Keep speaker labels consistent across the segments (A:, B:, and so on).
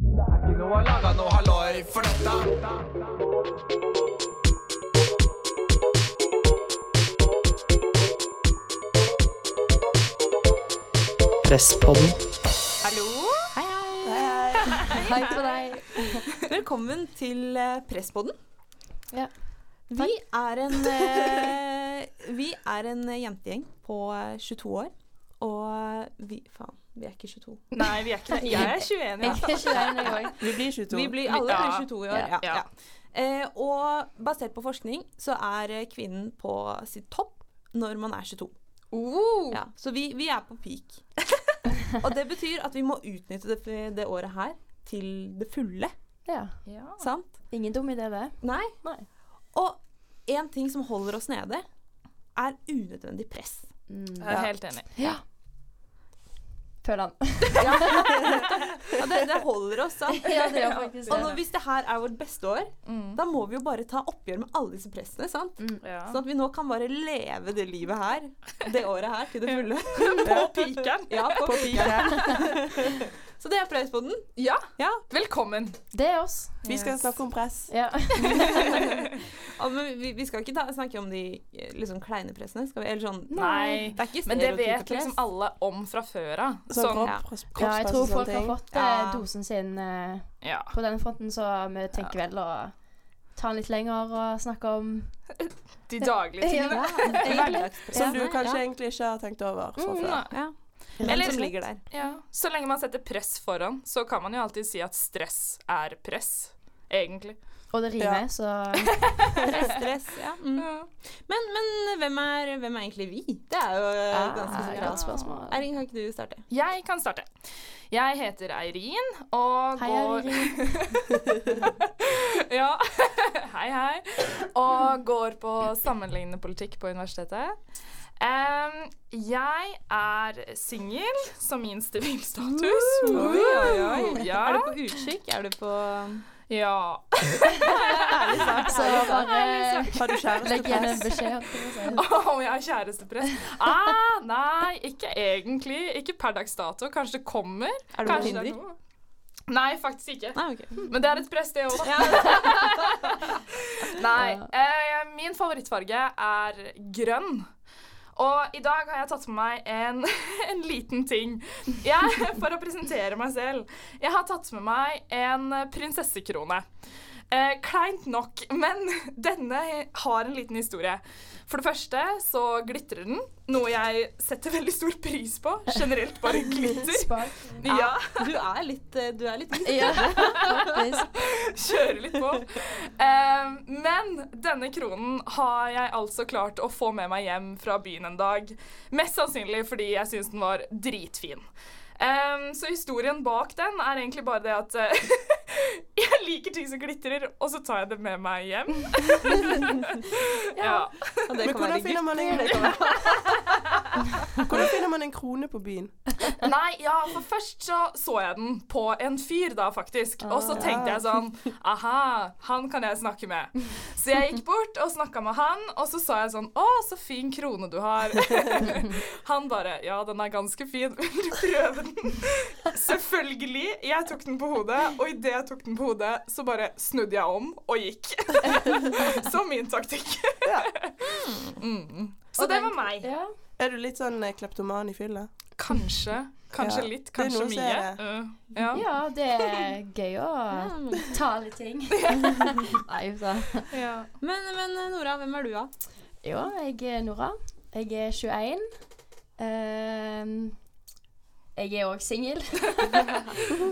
A: Martin og har laga noe halloi for dette.
B: Presspodden.
C: Hallo! Hei, hei!
D: Hei på deg.
C: Eh, Velkommen til eh, Presspodden.
D: Ja.
C: Vi er en, eh, vi er en eh, jentegjeng på eh, 22 år, og eh, vi Faen, vi er ikke 22.
E: Nei, vi er ikke det. Jeg er 21 i
D: Jeg
E: hvert
D: er
E: fall.
D: ikke der noen gang.
E: Vi blir 22.
C: Vi blir alle
E: ja.
C: blir 22 i år. Ja.
E: Ja.
C: Ja. Eh, og basert på forskning så er eh, kvinnen på sitt topp når man er 22.
E: Oh,
C: Ja, så vi, vi er på peak. og det betyr at vi må utnytte det, det året her til det fulle,
D: Ja.
E: Ah.
C: sant?
D: Ingen dum idé, det.
C: Nei.
D: Nei.
C: Og en ting som holder oss nede, er unødvendig press.
E: Jeg er helt enig.
D: Mm. Føler han.
C: Ja, det, det holder oss, sant?
D: Ja, det gjør faktisk
C: Og nå,
D: det.
C: hvis det her er vårt beste år, da må vi jo bare ta oppgjør med alle disse pressene. sant?
E: Mm. Ja.
C: Sånn at vi nå kan bare leve det livet her, det året her, til det fulle.
E: På pikeren.
C: Ja, på, piken. Så det er Prøyspodden.
E: Ja.
C: Ja.
E: Velkommen.
D: Det er oss.
B: Vi skal snakke om press.
D: Ja.
C: Ja, men vi, vi skal ikke ta, snakke om de eh, liksom kleine pressene. Skal vi, eller sånn,
E: Nei.
C: det er ikke
E: Men det vet
C: stereotypepress.
E: liksom alle om fra før av.
B: Sånn
E: Sånn,
B: kropp,
D: ja, jeg
B: kroppspress
D: tror
B: og
D: folk
B: sånne
D: har
B: ting.
D: fått eh,
C: Ja.
D: dosen sin eh,
E: ja.
D: på den fronten, så vi tenker vel å ta den litt lenger og snakke om
E: De daglige tingene.
C: Hverdagspress.
B: Som du
C: Ja.
B: kanskje egentlig ikke har tenkt over fra
E: Mm,
B: før.
E: ja.
C: ja.
D: Rett
C: Eller
E: liksom
D: og
C: som
D: slett.
C: ligger der.
E: Ja. Så lenge man setter press foran, så kan man jo alltid si at stress er press. Egentlig.
D: Og det rimer,
B: Ja.
D: så
C: Press, stress, ja. Mm.
E: Ja.
C: Men, men hvem, er, hvem er egentlig vi? Det er jo eh, ganske
D: Ah,
C: så
D: Godt
C: klart.
D: spørsmål.
C: Eirin, kan ikke du starte?
E: Jeg kan starte. Jeg heter Eirin og
D: Hei,
E: går
D: Eirin.
E: Ja. hei, hei. Og går på sammenlignende politikk på universitetet. Em, jeg er singel, som min sivilstatus.
C: Oi, oi, oi.
E: Ja.
C: Er du på utkikk? Er du på
E: Ja.
D: Ærlig sagt, så bare
B: Har du
D: legg igjen en
B: kjærestepress?
D: beskjed. holdt jeg på å si.
E: Om jeg har kjærestepress? Ah, nei, ikke egentlig. Ikke per dags dato. Kanskje det kommer.
C: Er du på
E: Kanskje det
C: Tinder?
E: kommer. Nei, faktisk ikke.
C: Nei, ok.
E: Men det er et press, det òg, da. Nei. Eh, min favorittfarge er grønn. Og i dag har jeg tatt med meg en, en liten ting jeg, for å presentere meg selv. Jeg har tatt med meg en prinsessekrone. Eh, kleint nok, men denne har en liten historie. For det første så glitrer den, noe jeg setter veldig stor pris på. Generelt bare glitter.
D: Spark.
E: Ja.
C: Du er litt eh, Du er litt
D: Ja, faktisk.
E: kjøre litt på. Eh, men denne kronen har jeg altså klart å få med meg hjem fra byen en dag. Mest sannsynlig fordi jeg syns den var dritfin. Eh, så historien bak den er egentlig bare det at eh, jeg liker ting som glitrer, og så tar jeg det med meg hjem. ja.
C: Og det
B: Men
C: kan være
B: hvordan finner
C: gutt.
B: man en Hvordan finner man en krone på byen?
E: Nei, ja, for først så så jeg den på en fyr da, faktisk. Og
B: Ah.
E: så tenkte jeg sånn, aha, han kan jeg snakke med. Så jeg gikk bort og snakket med han, og så sa jeg sånn, å, så fin krone du har. Han bare, ja, den er ganske fin, vil du prøve den? Selvfølgelig, jeg tok den på hodet, og i det jeg tok den på hodet, så bare snudde jeg om og gikk. Som min taktikk. Mm. Så det var meg.
D: Ja.
B: Er du litt sånn eh, kleptoman i fylla?
E: Kanskje. Kanskje
B: Ja.
E: litt,
B: Det er
E: kanskje
B: noen som
E: mye.
B: er
E: Uh, ja.
D: ja, det er gøy å ta litt ting. Nei, så.
E: Ja.
C: Men, men eh, Nora, hvem er du, da?
D: Jo, jeg er Nora. Jeg er 21. Ehm, jeg er òg singel.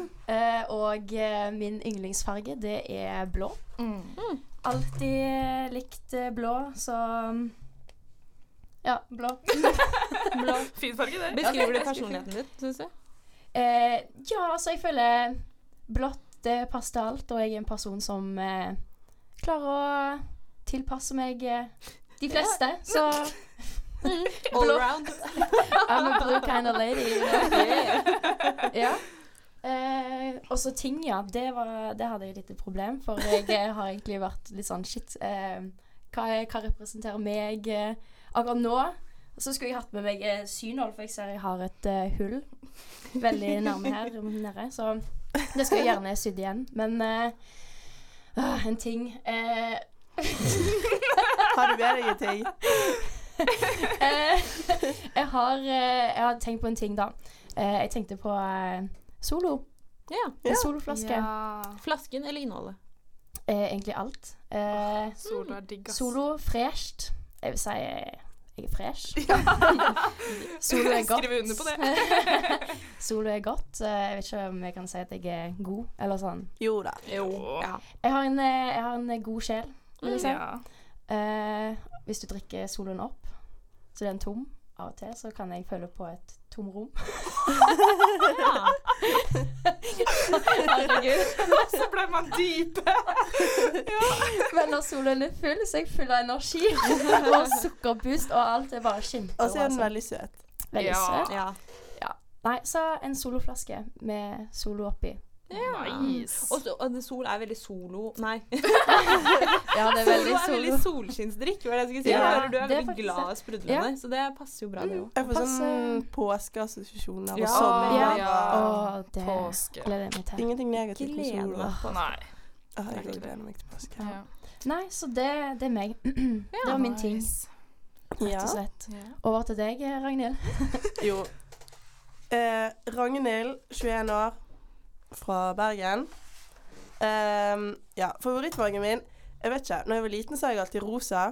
D: Eh, og eh, min yndlingsfarge, det er blå.
E: Mm.
D: Alltid likt eh, blå, så Ja, blå.
C: Blå.
E: Fin farge, det.
C: Beskriver du personligheten din, syns du?
D: Eh, ja, altså jeg føler blått det passer til alt, og jeg er en person som eh, klarer å tilpasse meg eh, de fleste. Så
C: All
D: Blå.
C: around.
D: I'm a blue kind of lady. you know. ja. Eh, og så ting, ja. Det, var, det hadde jeg et lite problem, for jeg eh, har egentlig vært litt sånn shit. Eh, hva, er- hva representerer meg eh, akkurat nå? Så skulle jeg hatt med meg eh, synål, for jeg ser jeg har et eh, hull veldig nærme her. nede, så Det skal jeg gjerne sydd igjen, men eh, ah, En ting eh,
B: Har du med deg en ting?
D: eh, jeg, har, eh, jeg har tenkt på en ting, da. Eh, jeg tenkte på eh, Solo.
C: Ja.
D: En
B: Ja.
D: soloflaske.
E: Ja.
C: Flasken eller innholdet?
D: Eh, egentlig alt. Eh,
E: Solo er digg, ass.
D: solo fresht. Jeg vil si eh, jeg er fresh. Solo er
E: Jeg
D: godt.
E: skriver under på det.
D: Solo er godt. Eh, Jeg vet ikke om jeg kan si at jeg er god, eller sånn.
B: Jo da.
E: Jo.
C: Ja.
D: Jeg har en, eh, jeg har en eh, god sjel, vil jeg si.
E: Ja.
D: Eh, hvis du drikker soloen opp, så den er tom av og til, så kan jeg føle på et tomrom.
C: Ja.
D: Herregud.
E: Så ble man dyp.
D: Men når solen er full, så er jeg full av energi og sukkerboost og alt. Det er bare kjempe.
B: Og så er den veldig søt.
D: veldig
E: Ja.
D: søt.
C: ja.
D: Nei, så en soloflaske med solo oppi.
E: Nice.
C: Og, så, og det- sol er veldig solo Nei.
D: Ja, det
C: Solo
D: er veldig
C: er
D: solo.
C: veldig solskinnsdrikk. Hva er det jeg skulle si?
D: Ja,
C: Jeg hører du er
D: det er
C: veldig
D: faktisk
C: glad og sprudlende, så det passer jo bra, det òg.
B: Jeg får sånn
D: Passer.
B: påskeassosiasjoner
C: Ja.
B: og sommer.
D: Ja.
E: Ja.
D: Og det
E: Påske.
D: gleder jeg meg til.
B: Ingenting negativt med
C: Gleder
B: sola.
C: meg.
E: Nei.
B: Ah, jeg gleder meg til påske.
E: Ja.
D: Nei, så det, det er meg. Det var min ting,
E: Nice.
D: rett og slett.
E: Ja.
D: Over til deg, Ragnhild.
B: Jo. Eh, Ragnhild, 21 år, fra Bergen. Ehm, ja, favorittfargen min Jeg vet ikke. Når jeg var liten, sa jeg alltid rosa.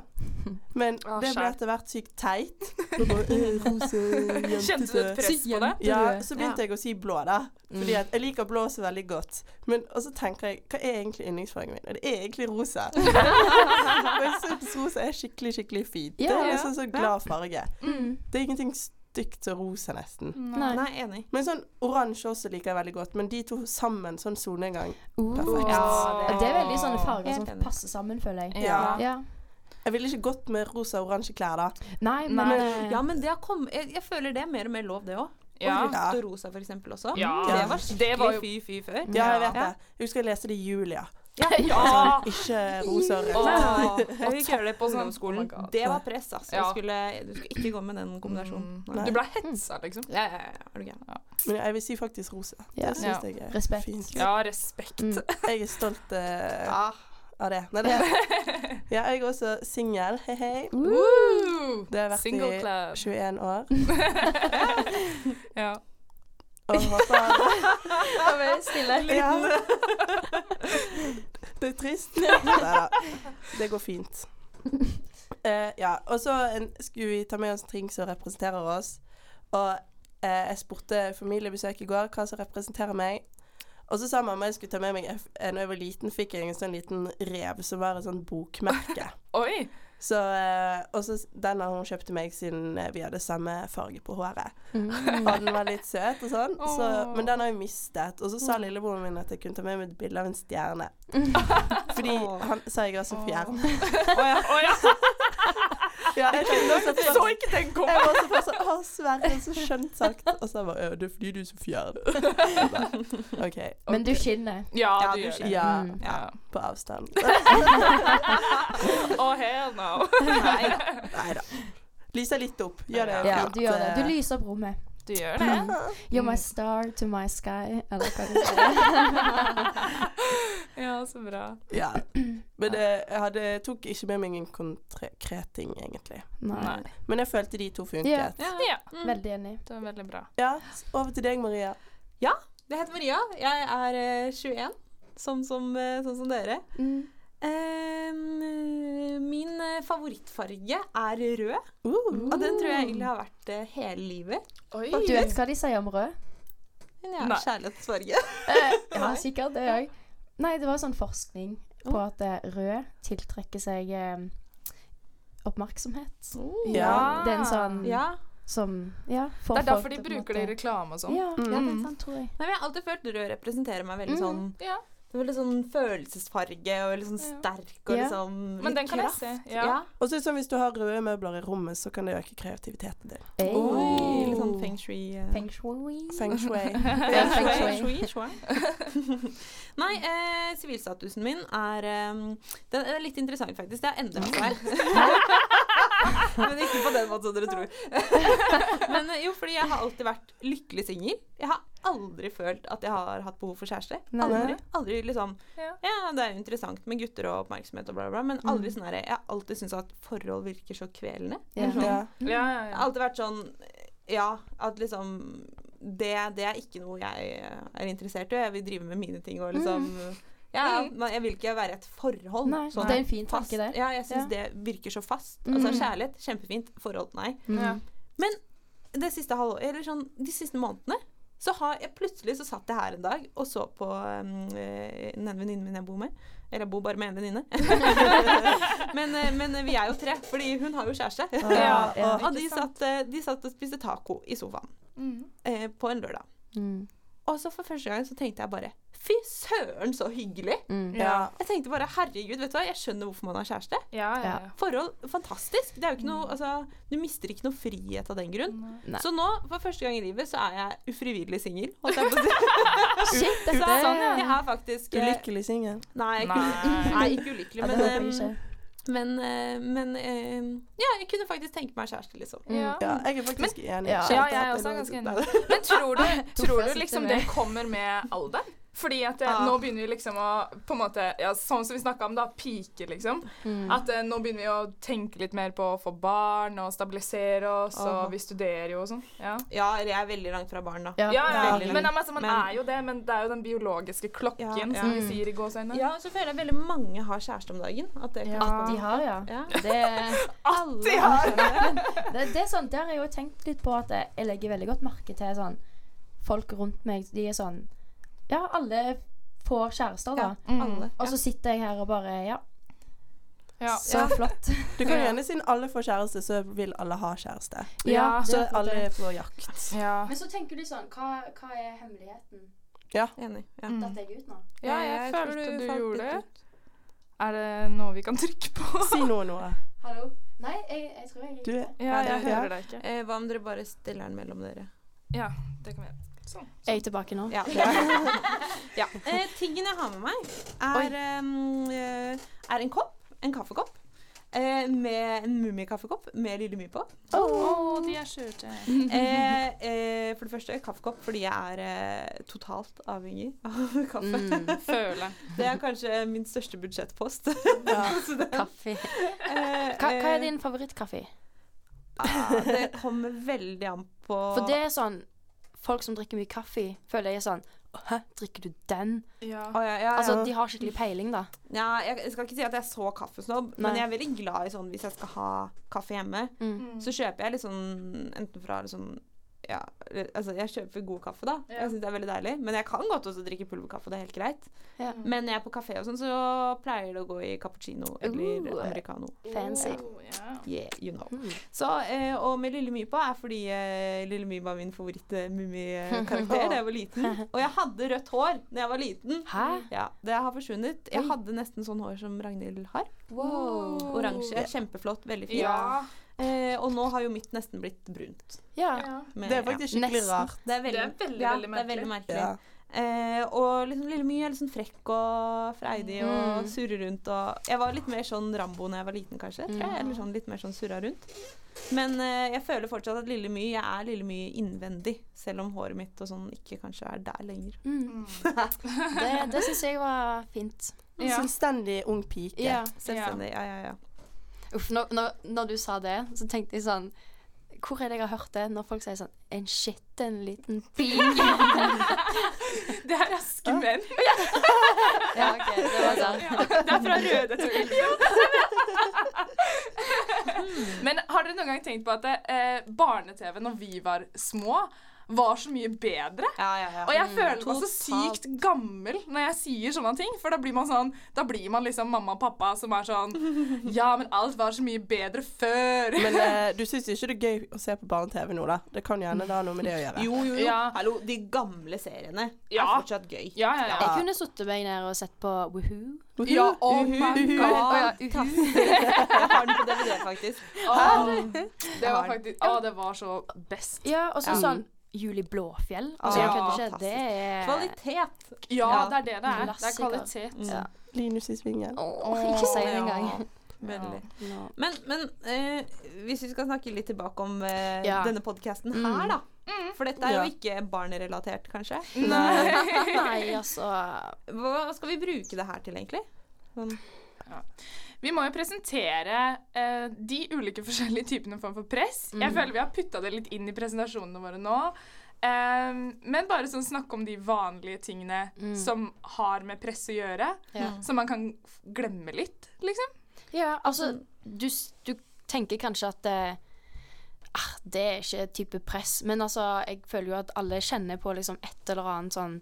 B: Men
E: Å,
B: det ble
E: skjær.
B: etter hvert sykt teit. Og bare, «Eh, rosa,
E: Kjente du et
B: jentete».
E: press på det?
B: Ja, så begynte jeg å si blå, da. Fordi at jeg liker blå så veldig godt. Men og så tenker jeg Hva er egentlig yndlingsfargen min? Og det er egentlig rosa. og jeg syns rosa er skikkelig, skikkelig fint. Det
D: Ja,
B: er
D: ja.
B: liksom så glad farge.
D: Mm.
B: Det er ingenting stygt som rosa, nesten.
D: Nei.
C: Nei, enig.
B: Men sånn oransje også liker jeg veldig godt, men de to sammen, sånn solnedgang
D: Uh,
B: Perfekt.
D: Ja, det er veldig sånne farger
C: Helt
D: som
C: enig.
D: passer sammen, føler jeg.
B: Ja.
D: Ja.
B: Jeg ville ikke gått med rosa og oransje klær da.
D: Nei, men
E: Nei.
D: eh,
C: Ja, men det har kommet jeg, jeg føler det er mer og mer lov, det òg.
E: Ja.
C: Og rødt og rosa, for eksempel, også.
E: Ja.
C: Det var
E: Det var jo-
C: skikkelig fy-fy før.
B: Ja,
E: Ja.
B: jeg vet det. Jeg husker jeg leste det i Julia. Sånn,
C: Ja.
E: Ja.
B: Ikke rosa og rødt.
C: Åh,
E: Åh.
C: jeg fikk gjøre det på
E: Sånn.
C: ungdomsskolen.
E: Oh my God.
C: det var press, altså.
E: Ja.
C: Du, skulle, du skulle ikke gå med den kombinasjonen.
E: Mm.
B: Nei.
E: Du ble hetsa, liksom.
C: Ja, ja, ja, er du gæren.
B: Men jeg vil si faktisk rosa.
D: Ja.
B: Det syns jeg er
D: Respekt.
B: fint.
E: Ja, respekt. Ah.
D: Mm.
B: Jeg er stolt eh,
C: Ja.
B: av det. Nei, det ja, jeg er også singel. Hei, hei.
E: Woo!
B: Det har vært
E: Single
B: i
E: club.
B: 21 år.
E: Ja.
B: Og håper
D: Da ble jeg stille.
B: ja. Det er trist. Neida. Det går fint. Eh, ja, og så en- skulle vi ta med oss en ting som representerer oss. Og eh, jeg spurte familiebesøk i går hva som representerer meg. Og så sa mamma jeg skulle ta med meg Da jeg var liten, fikk jeg en sånn liten rev som var et sånt bokmerke.
E: Oi!
B: Så, eh, og så s- den har hun kjøpt til meg siden eh, vi hadde samme farge på håret.
D: Mm,
B: Og den var litt søt og sånn, så, men den har jeg mistet. Og så sa lillebroren min at jeg kunne ta med meg et bilde av en stjerne. Fordi han sa jeg var så fjern.
E: Å ja. å ja.
B: Ja, jeg skjønte også at
E: Så ikke den komme!
B: jeg var så fast sånn Å, Sverre, så skjønt sagt. Og så bare «Ja, Det er fordi du er så fjern. Jeg bare, OK.
D: Men du skinner.
E: Ja,
C: Ja,
E: du
C: du
E: gjør det.
B: Ja,
D: Mm.
E: Ja.
B: på avstand.
E: Å, hell no.
B: Nei da. Lyser litt opp. Gjør det.
D: Ja,
B: fint,
D: du gjør det.
B: eh,
D: Du lyser opp rommet.
E: Du gjør det.
D: Mm. You're my star to my sky. Eller hva du sier.
E: Ja, så bra.
B: Ja. Men eh, jeg hadde, tok ikke med meg en konkret ting, egentlig.
D: Nei.
E: Nei.
B: Men jeg følte de to funket.
D: Ja.
E: Ja,
D: Veldig enig.
E: det var veldig bra.
B: Ja, Over til deg, Maria.
C: Jeg heter Maria. Jeg er eh, 21, sånn som, eh, sånn som dere.
D: Mm.
C: Ehm, min eh, favorittfarge er rød,
B: Uh.
C: og den tror jeg egentlig har vært eh, hele livet.
E: Oi.
D: Du vet hva de sier om rød?
C: Men jeg
E: Nei.
C: er kjærlighetsfarge.
D: Eh, Ja, sikkert. Det òg. Nei, det var sånn forskning på at eh, rød tiltrekker seg eh, oppmerksomhet.
E: Oh. Ja.
D: Det er en sånn
E: Mm.
C: Ja.
D: som Ja. får
E: Det er derfor
D: folk
E: de
D: til å på en
E: bruker det i
D: måte-
E: reklame og sånn.
D: Ja, ja, det er
B: Mm.
D: sant, tror jeg.
C: Nei, men jeg har alltid følt rød representerer meg veldig
D: Mm.
C: sånn
E: Ja.
C: Det er veldig sånn følelsesfarge og veldig sånn
E: Ja.
C: sterk og
D: Ja.
C: liksom
E: Men den kan jeg
C: kraft.
E: se.
C: Ja.
E: Ja.
B: Og så er det sånn, Hvis du har røde møbler i rommet, så kan det øke kreativiteten din.
D: Hey.
C: Oi, Litt sånn feng shui. eh.
D: Feng shui.
B: Feng shui.
D: Ja, feng shui.
C: Shui, shui. Nei, eh, sivilstatusen min er eh, Den er litt interessant, faktisk. Det har endret seg. Men ikke på den måten som dere tror. Men eh, jo, fordi jeg har alltid vært lykkelig singel. Jeg har aldri følt at jeg har hatt behov for kjæreste.
D: Nei.
C: Aldri. aldri liksom,
E: Ja.
C: ja, det er jo interessant med gutter og oppmerksomhet og bla, bla, bla, men aldri
D: Mm.
C: sånn her Jeg har alltid syntes at forhold virker så kvelende.
D: Ja.
B: Ja.
E: Ja, ja,
C: Jeg
E: ja.
C: har alltid vært sånn Ja, at liksom det, det er ikke noe jeg er interessert i. Jeg vil drive med mine ting og liksom Ja,
E: Mm.
C: men jeg vil ikke være i et forhold.
D: Nei,
C: sånn
D: det er en fin
C: fast.
D: tanke der.
C: Ja, jeg syns
D: Ja.
C: det virker så fast.
D: Mm.
C: Altså kjærlighet, kjempefint. Forhold, nei.
E: Ja.
C: Det siste halvå- eller sånn, de siste månedene så har jeg plutselig så satt jeg her en dag og så på um, eh, den ene venninnen min jeg bor med. Eller jeg bor bare med en venninne. men, eh, men vi er jo tre, fordi hun har jo kjæreste.
E: Ja,
D: ja.
C: Og de
E: Ikke sant?
C: satt, eh, de satt og spiste taco i sofaen
E: Mm.
C: eh, på en lørdag.
D: Mm.
C: Og så for første gang så tenkte jeg bare Fy søren, så hyggelig!
D: Mm.
E: Ja.
C: Jeg tenkte bare, herregud, vet du hva, jeg skjønner hvorfor man har kjæreste.
E: Ja, ja, ja.
C: Forhold, fantastisk. Det er jo ikke noe, altså, du mister ikke noe frihet av den grunn.
D: Nei.
C: Så nå, for første gang i livet, så er jeg ufrivillig singel. holdt jeg på å si.
D: Ah, Shit,
C: Så
D: dette
E: sånn,
C: jeg er faktisk eh,
B: Ulykkelig singel.
C: Nei, ikke,
E: Nei.
C: nei, ikke ulykkelig,
D: Ja, det
C: men,
D: håper jeg
C: eh,
D: ikke.
C: men, eh, men eh, Ja, jeg kunne faktisk tenke meg kjæreste, liksom.
E: Ja.
B: Ja, jeg er faktisk enig.
D: Ja.
B: Skjønt
E: Ja,
B: at
E: jeg er
B: det
E: også
B: lå-
E: ganske enig. Men tror du, tror
D: jeg
E: du
D: sitter
E: liksom
D: med.
E: det kommer med alderen? Fordi at eh,
C: Ah.
E: nå begynner vi liksom å på en måte, ja, Sånn som vi snakka om, da. Pike, liksom.
D: Mm.
E: At eh, nå begynner vi å tenke litt mer på å få barn og stabilisere oss,
C: Aha.
E: og vi studerer jo og sånn. Ja.
C: Ja, eller jeg er veldig langt fra barn, da.
D: Ja.
E: Ja, ja,
C: Veldig.
E: Men ja, men altså, man
C: Men-
E: er jo det, men det er jo den biologiske klokken,
C: Ja, ja.
E: som vi
D: Mm.
E: sier i gåseøynene.
C: Ja, og så føler jeg veldig mange har kjæreste om dagen. At det
E: Ja.
C: kan
D: At de har, ja.
C: Ja.
D: Det,
C: Alle
D: det, det er sånn, Der har jeg jo tenkt litt på at jeg jeg legger veldig godt merke til sånn folk rundt meg. De er sånn Ja, alle får kjærester, da.
C: Ja,
E: Mm.
C: alle.
D: Og så sitter jeg her og bare Ja,
E: Ja.
D: så flott.
B: Du kan
E: Ja.
B: gjerne si alle får kjæreste, så vil alle ha kjæreste.
E: Ja,
D: det
B: Så
D: er flott,
B: alle
D: det.
B: er på jakt.
E: Ja.
D: Men så tenker du sånn Hva, hva er hemmeligheten?
C: Enig. Ja.
E: Mm.
D: Datt jeg ut nå?
E: ja, jeg,
C: tror
E: følte du
C: falt
E: gjorde det.
C: litt ut.
E: Er det noe vi kan trykke på?
B: Si noe, Noah.
D: Hallo? Nei, jeg, jeg tror jeg
B: Du
D: ikke
E: Ja, jeg
B: det- ja.
E: hører deg ikke.
C: Eh, hva om dere bare steller den mellom dere?
E: Ja, det kan vi gjøre. Sånn.
D: Jeg er tilbake nå.
C: Ja. ja. Eh, tingen jeg har med meg, er, em, eh, er en kopp. En kaffekopp. Eh, med en mummikaffekopp med Lille My på.
E: Å, de er skjørte.
C: Eh, eh, for det første kaffekopp fordi jeg er eh, totalt avhengig av kaffe.
D: Mm,
E: Føle.
C: Det er kanskje min største budsjettpost. Så det-
D: kaffe.
C: eh,
D: Hva, hva
C: eh,
D: er din favorittkaffe?
C: ah, Det kommer veldig an på
D: For det er sånn Folk som drikker mye kaffe, føler jeg er sånn «Å, Hæ, drikker du den?
E: Ja.
C: Å, ja, ja, ja.
D: Altså, de har skikkelig peiling, da.
C: Ja, jeg, jeg skal ikke si at jeg er så kaffesnobb, men
D: Nei.
C: jeg er veldig glad i sånn hvis jeg skal ha kaffe hjemme.
D: Mm.
E: Mm.
C: Så kjøper jeg litt sånn enten fra liksom ja, altså Jeg kjøper god kaffe, da.
E: Ja.
C: Jeg syns det er veldig deilig. Men jeg kan godt også drikke pulverkaffe, det er helt greit.
D: Ja.
C: Men når jeg er på kafé og sånn, så pleier det å gå i cappuccino eller
D: Ooh.
C: americano.
D: Fancy.
E: Oh, ja.
C: Yeah, you know.
D: Mm.
C: Så, eh, og med Lille My på er fordi eh, Lille My var min favoritt-mummikarakter da jeg var liten. Og jeg hadde rødt hår da jeg var liten.
D: Hæ?
C: Ja, Det har forsvunnet. Jeg
D: Oi.
C: hadde nesten sånn hår som Ragnhild har.
D: Wow.
C: Oransje. Kjempeflott. Veldig fint.
E: Ja.
C: Eh, og nå har jo mitt nesten blitt brunt.
D: Ja.
E: ja.
C: Men,
B: Det er faktisk skikkelig
D: Nesten.
B: rart.
C: ja, det er veldig,
E: Det er veldig,
C: ja,
E: veldig
C: det er veldig merkelig.
B: Ja.
C: Eh, og liksom Lille My er litt sånn frekk og freidig
D: Mm.
C: og surrer rundt og Jeg var litt mer sånn Rambo da jeg var liten, kanskje. Tror jeg, eller sånn litt mer sånn surra rundt. Men eh, jeg føler fortsatt at Lille My, jeg er Lille My innvendig. Selv om håret mitt og sånn ikke kanskje er der lenger.
D: Mm. Det, det syns jeg var fint.
E: Ja.
B: Selvstendig ung pike.
D: Ja.
C: Selvstendig. Ja, ja, ja.
D: Uff, når, når, når du sa det, så tenkte jeg sånn Hvor er det jeg har hørt det? Når folk sier sånn En skitten liten bil.
E: Det er raske menn.
D: Ja, OK. Det var sånn.
E: Ja, det er fra røde til ulike. Men har dere noen gang tenkt på at eh, barne-TV når vi var små, var så mye bedre?
C: ja, ja, ja.
E: Og jeg føler meg så
C: Mm, Totalt.
E: sykt gammel når jeg sier sånne ting. For da blir man sånn Da blir man liksom mamma og pappa som er sånn Ja, men alt var så mye bedre før.
B: Men eh, du syns ikke det er gøy å se på barne-TV nå, da? Det kan gjerne det ha noe med det å gjøre.
C: Jo, jo, jo.
E: Ja.
C: Hallo, de gamle seriene er
E: Ja.
C: fortsatt gøy.
E: Ja, ja, ja.
D: Jeg kunne sittet meg ned og sett på Woohoo.
E: ja oh my
B: Uhu.
E: god.
D: Å ja, Uhu.
C: Jeg har den på DVD, faktisk.
E: Åh, det var faktisk Å, det var så best.
D: Ja, og så
C: Ja.
D: sånn Julie Blåfjell. Altså, jeg
E: Ja,
D: kødder ikke. Det er
C: Kvalitet.
E: Ja,
C: Ja.
E: det er det det er. Det er
D: Klassiker.
E: kvalitet.
D: Ja.
B: Linus i svingen.
D: Åh, ikke si det
C: Ja.
D: engang.
C: Veldig.
B: Nå.
C: Men, men eh, hvis vi skal snakke litt tilbake om eh,
D: Ja.
C: denne podkasten
D: Mm.
C: her, da. For dette er
B: Ja.
C: jo ikke barnerelatert, kanskje.
D: Nei, altså
C: Hva skal vi bruke det her til, egentlig? Sånn.
E: Vi må jo presentere eh, de ulike forskjellige typene form for press. Jeg føler vi har putta det litt inn i presentasjonene våre nå. Ehm, men bare sånn snakke om de vanlige tingene som har med press å gjøre.
D: Ja.
E: Som man kan f- glemme litt, liksom.
D: Ja, altså, du, s- du tenker kanskje at eh, ah, det er ikke type press, men altså, jeg føler jo at alle kjenner på liksom et eller annet sånn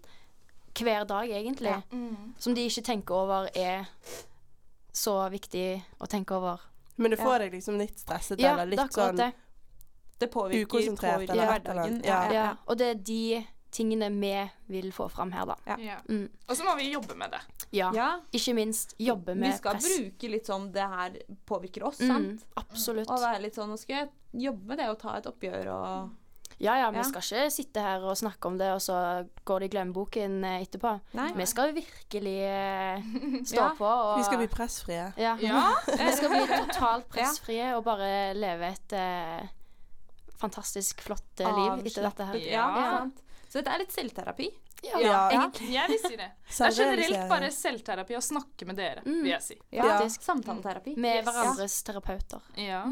D: hver dag, egentlig,
E: Mm.
D: som de ikke tenker over er så viktig å tenke over.
B: Men du får deg liksom litt stresset
D: Ja,
B: eller
D: det er
B: litt
D: akkurat
B: sånn
D: det.
C: Det påvirker,
B: Ukonsentrert,
C: påvirker
B: eller et eller
C: hverdagen.
B: annet.
C: Ja, ja,
D: Ja,
C: ja.
D: og det er de tingene vi vil få fram her, da.
C: Ja.
E: Ja.
D: Mm.
E: Og så må vi jobbe med det.
D: Ja.
C: ja.
D: Ikke minst jobbe
C: Vi
D: med
C: skal
D: press.
C: bruke litt sånn Det her påvirker oss,
D: Mm,
C: sant?
D: absolutt.
C: Og være litt sånn Nå skal jeg jobbe med det og ta et oppgjør og
D: Ja, ja, vi
C: Ja.
D: skal ikke sitte her og snakke om det, og så går det i glemmeboken eh, etterpå.
C: Nei.
D: Vi skal virkelig eh, stå
C: Ja,
D: på og
B: Vi skal bli pressfrie.
D: ja.
E: Ja.
D: Vi skal bli totalt pressfrie og bare leve et eh, fantastisk flott eh, liv etter dette her.
C: Avslappet. Ja,
E: Ja.
C: sant. Så dette er litt selvterapi.
D: Ja.
B: Ja.
E: egentlig. Jeg vil si det. Det er
B: Serverer
E: generelt
B: seg.
E: bare selvterapi å snakke med dere,
D: Mm.
E: vil jeg si.
C: Ja.
D: Faktisk.
C: Samtaleterapi.
D: Med
C: Yes.
D: hverandres terapeuter.
E: Ja,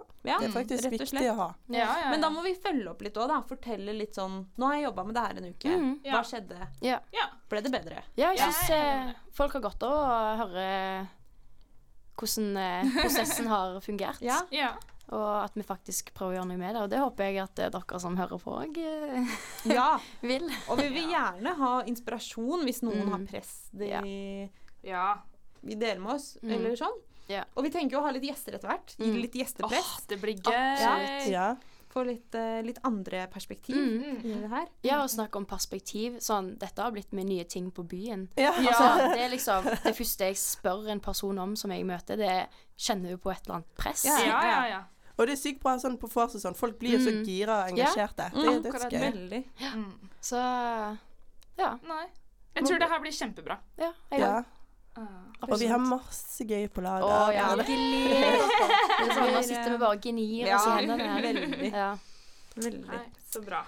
C: Ja.
D: Mm,
B: det er
C: rett
B: faktisk
C: og
B: viktig
C: slett.
B: å ha.
E: ja, ja. ja.
C: Men da må vi følge opp litt òg, da. Fortelle litt sånn Nå har jeg jobba med det her en uke.
D: Mhm.
E: Ja.
C: Hva skjedde?
D: Ja.
E: ja.
C: Ble det bedre?
D: ja, jeg
E: Ja,
D: syns
E: jeg er enig med
D: eh, folk har godt av å høre eh, hvordan eh, prosessen har fungert.
C: Ja.
E: ja.
D: Og at vi faktisk prøver å gjøre noe med det. Og det håper jeg at eh, dere som hører på òg eh,
C: Ja.
D: vil.
C: Og vi vil gjerne ha inspirasjon hvis noen
D: Mm.
C: har press de
D: Ja.
E: ja.
C: vi deler med oss,
D: Mm.
C: eller sånn.
D: Ja.
C: Og vi tenker jo å ha litt gjester etter hvert. Gi
D: Mm.
C: litt gjestepress.
E: Åh, det blir
D: Absolutt.
E: gøy.
B: Ja.
C: Få litt, eh, litt andre perspektiv
D: Mm.
E: Mm.
C: i det her.
D: Ja, og snakke om perspektiv. Sånn, dette har blitt mine nye ting på byen.
B: Ja.
D: Altså, det er liksom det første jeg spør en person om som jeg møter, det er kjenner du på et eller annet press.
C: Ja.
E: Ja, ja, ja.
B: Og det er sykt bra sånn på vors og sånn. Folk blir jo så
D: Mm.
B: gira og engasjerte. Det er
E: Mm, akkurat
B: dødsgøy.
C: Veldig.
E: Mm.
D: Så ja.
E: Nei. Jeg tror det her blir kjempebra.
D: ja, jeg,
B: Ja.
E: Ah,
D: absolutt.
B: Og vi har masse gøy på
D: Å
B: laget.
D: ja,
B: Eller-
D: gleder oss. Sånn, nå sitter vi bare og gnir oss i
C: eh, Ja.
D: hendene. her.
C: Veldig.
D: Ja.
C: Veldig.
E: så bra.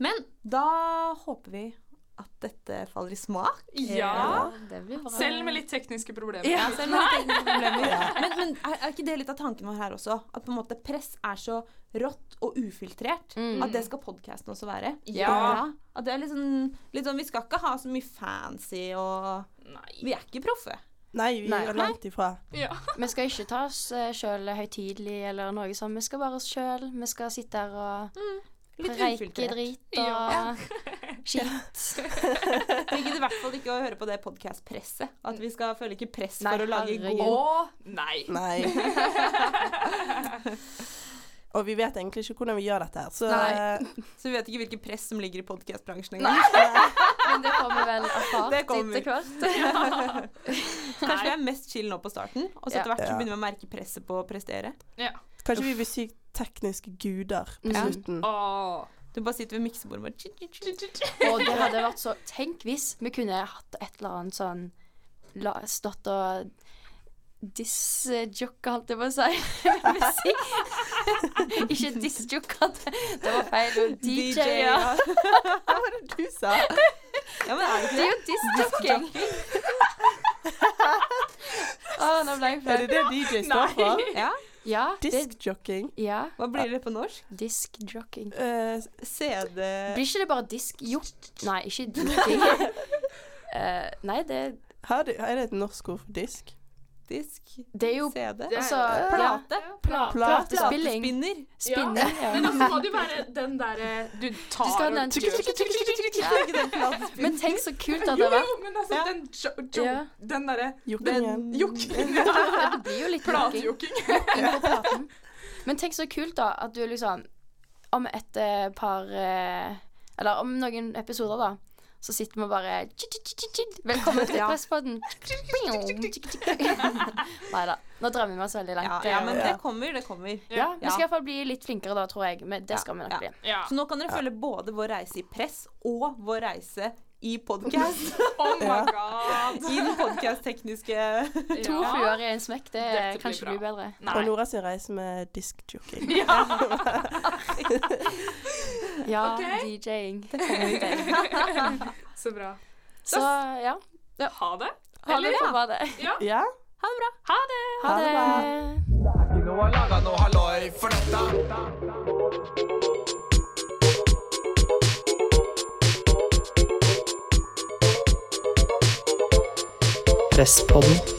C: Men da håper vi at dette faller i smak.
E: Ja.
D: Det blir bra.
E: Selv med litt tekniske problemer.
C: Ja, selv om det er tekniske problemer. Men, men er, er ikke det litt av tanken vår her også? At på en måte press er så rått og ufiltrert.
D: Mm.
C: At det skal podkasten også være.
E: Ja.
C: At det er litt sånn, litt sånn Vi skal ikke ha så mye fancy og
E: Nei.
C: Vi er ikke proffe.
B: Nei, vi
D: Nei.
B: er langt ifra.
E: Ja.
D: Vi skal ikke ta oss eh, sjøl høytidelig eller noe sånt. Vi skal være oss sjøl. Vi skal sitte her og
C: Litt
D: preike
C: ufiltrert.
D: drit
E: Ja.
D: og skitt.
C: Vi gidder i hvert fall ikke å høre på det podkastpresset. At vi skal føle ikke press
D: Nei,
C: for å lage
D: herregud.
C: god
E: Å nei.
B: Nei. Og vi vet egentlig ikke hvordan vi gjør dette her, så eh,
D: Nei.
C: Så vi vet ikke hvilket press som ligger i podkastbransjen engang.
D: Men det får vi vel erfart
C: Det kommer.
D: etter hvert.
C: Kanskje vi er mest chill nå på starten, og så
D: Ja.
C: etter hvert så
B: Ja.
C: begynner vi å merke presset på å prestere.
E: Ja.
B: kanskje vi blir sykt tekniske guder på
D: Ja.
B: slutten.
E: Å.
C: Du bare sitter ved miksebordet og bare
D: Og det hadde vært så Tenk hvis vi kunne hatt et eller annet sånn la, Stått og disjokka, holdt jeg på å si. Musikk. Ikke disjokka, det det var feil. og DJ, ja.
B: Hva var det du sa?
C: Ja, men er det ikke
D: Det er
C: det?
D: jo disjokking. Å, nå ble jeg
B: Er det
D: flau.
B: det DJ står for?
C: Ja.
D: Ja, det,
B: Diskjocking.
D: ja,
C: Hva blir det på norsk?
D: diskjocking.
B: Eh,
C: CD
D: Blir ikke det bare disk... Jo. Nei, ikke joking. Eh, nei, det,
B: har du- er det et norsk ord for disk?
C: Disk
D: det er jo
C: CD
E: Det er-
D: altså, ja.
C: Plate.
D: Pla-
B: Plat-
D: Platespilling.
C: Platespinner.
D: Spinning, ja.
E: Men da må det jo være den derre du tar
D: Du skal ha den
E: og-
D: Ja.
C: Er ikke det platespinner?
D: Men tenk så kult at
E: Jo,
D: det var.
E: jo, men altså
C: Ja.
E: den jo, jo,
D: Ja.
E: Den derre
B: Jokkingen.
E: jokking.
D: Det blir jo litt jokking
E: Platejoking.
D: på platen. Men tenk så kult, da, at du liksom Om et eh, par eh, Eller om noen episoder, da, så sitter vi bare Velkommen til
C: Ja.
D: Presspodden. Nei da. Nå drømmer vi oss veldig
C: Ja,
D: langt. Eh,
C: ja, men det kommer, det kommer.
D: Ja, vi
C: Ja.
D: skal iallfall bli litt flinkere da, tror jeg. Men det skal vi
C: Ja.
D: nok bli.
E: Ja.
C: Så nå kan dere følge både vår reise i press og vår reise i podkast.
E: Oh my god.
C: I den podcast podcast-tekniske
D: To
E: Ja.
D: fluer i en smekk, det
E: Dette blir
D: kan ikke
E: bra.
D: bli bedre.
E: Nei.
B: Og Nora sin reise med diskjockey.
E: Ja.
D: Ja,
E: Ok.
D: DJ-ing.
E: Så bra.
D: Så ja.
E: Ha det.
D: Ha det
E: Eller,
D: for badet.
B: Ja?
E: Ha det.
D: Ha
B: Ha det
D: det.
A: Ikke noe laga noe halloi for dette.
F: Presspodden.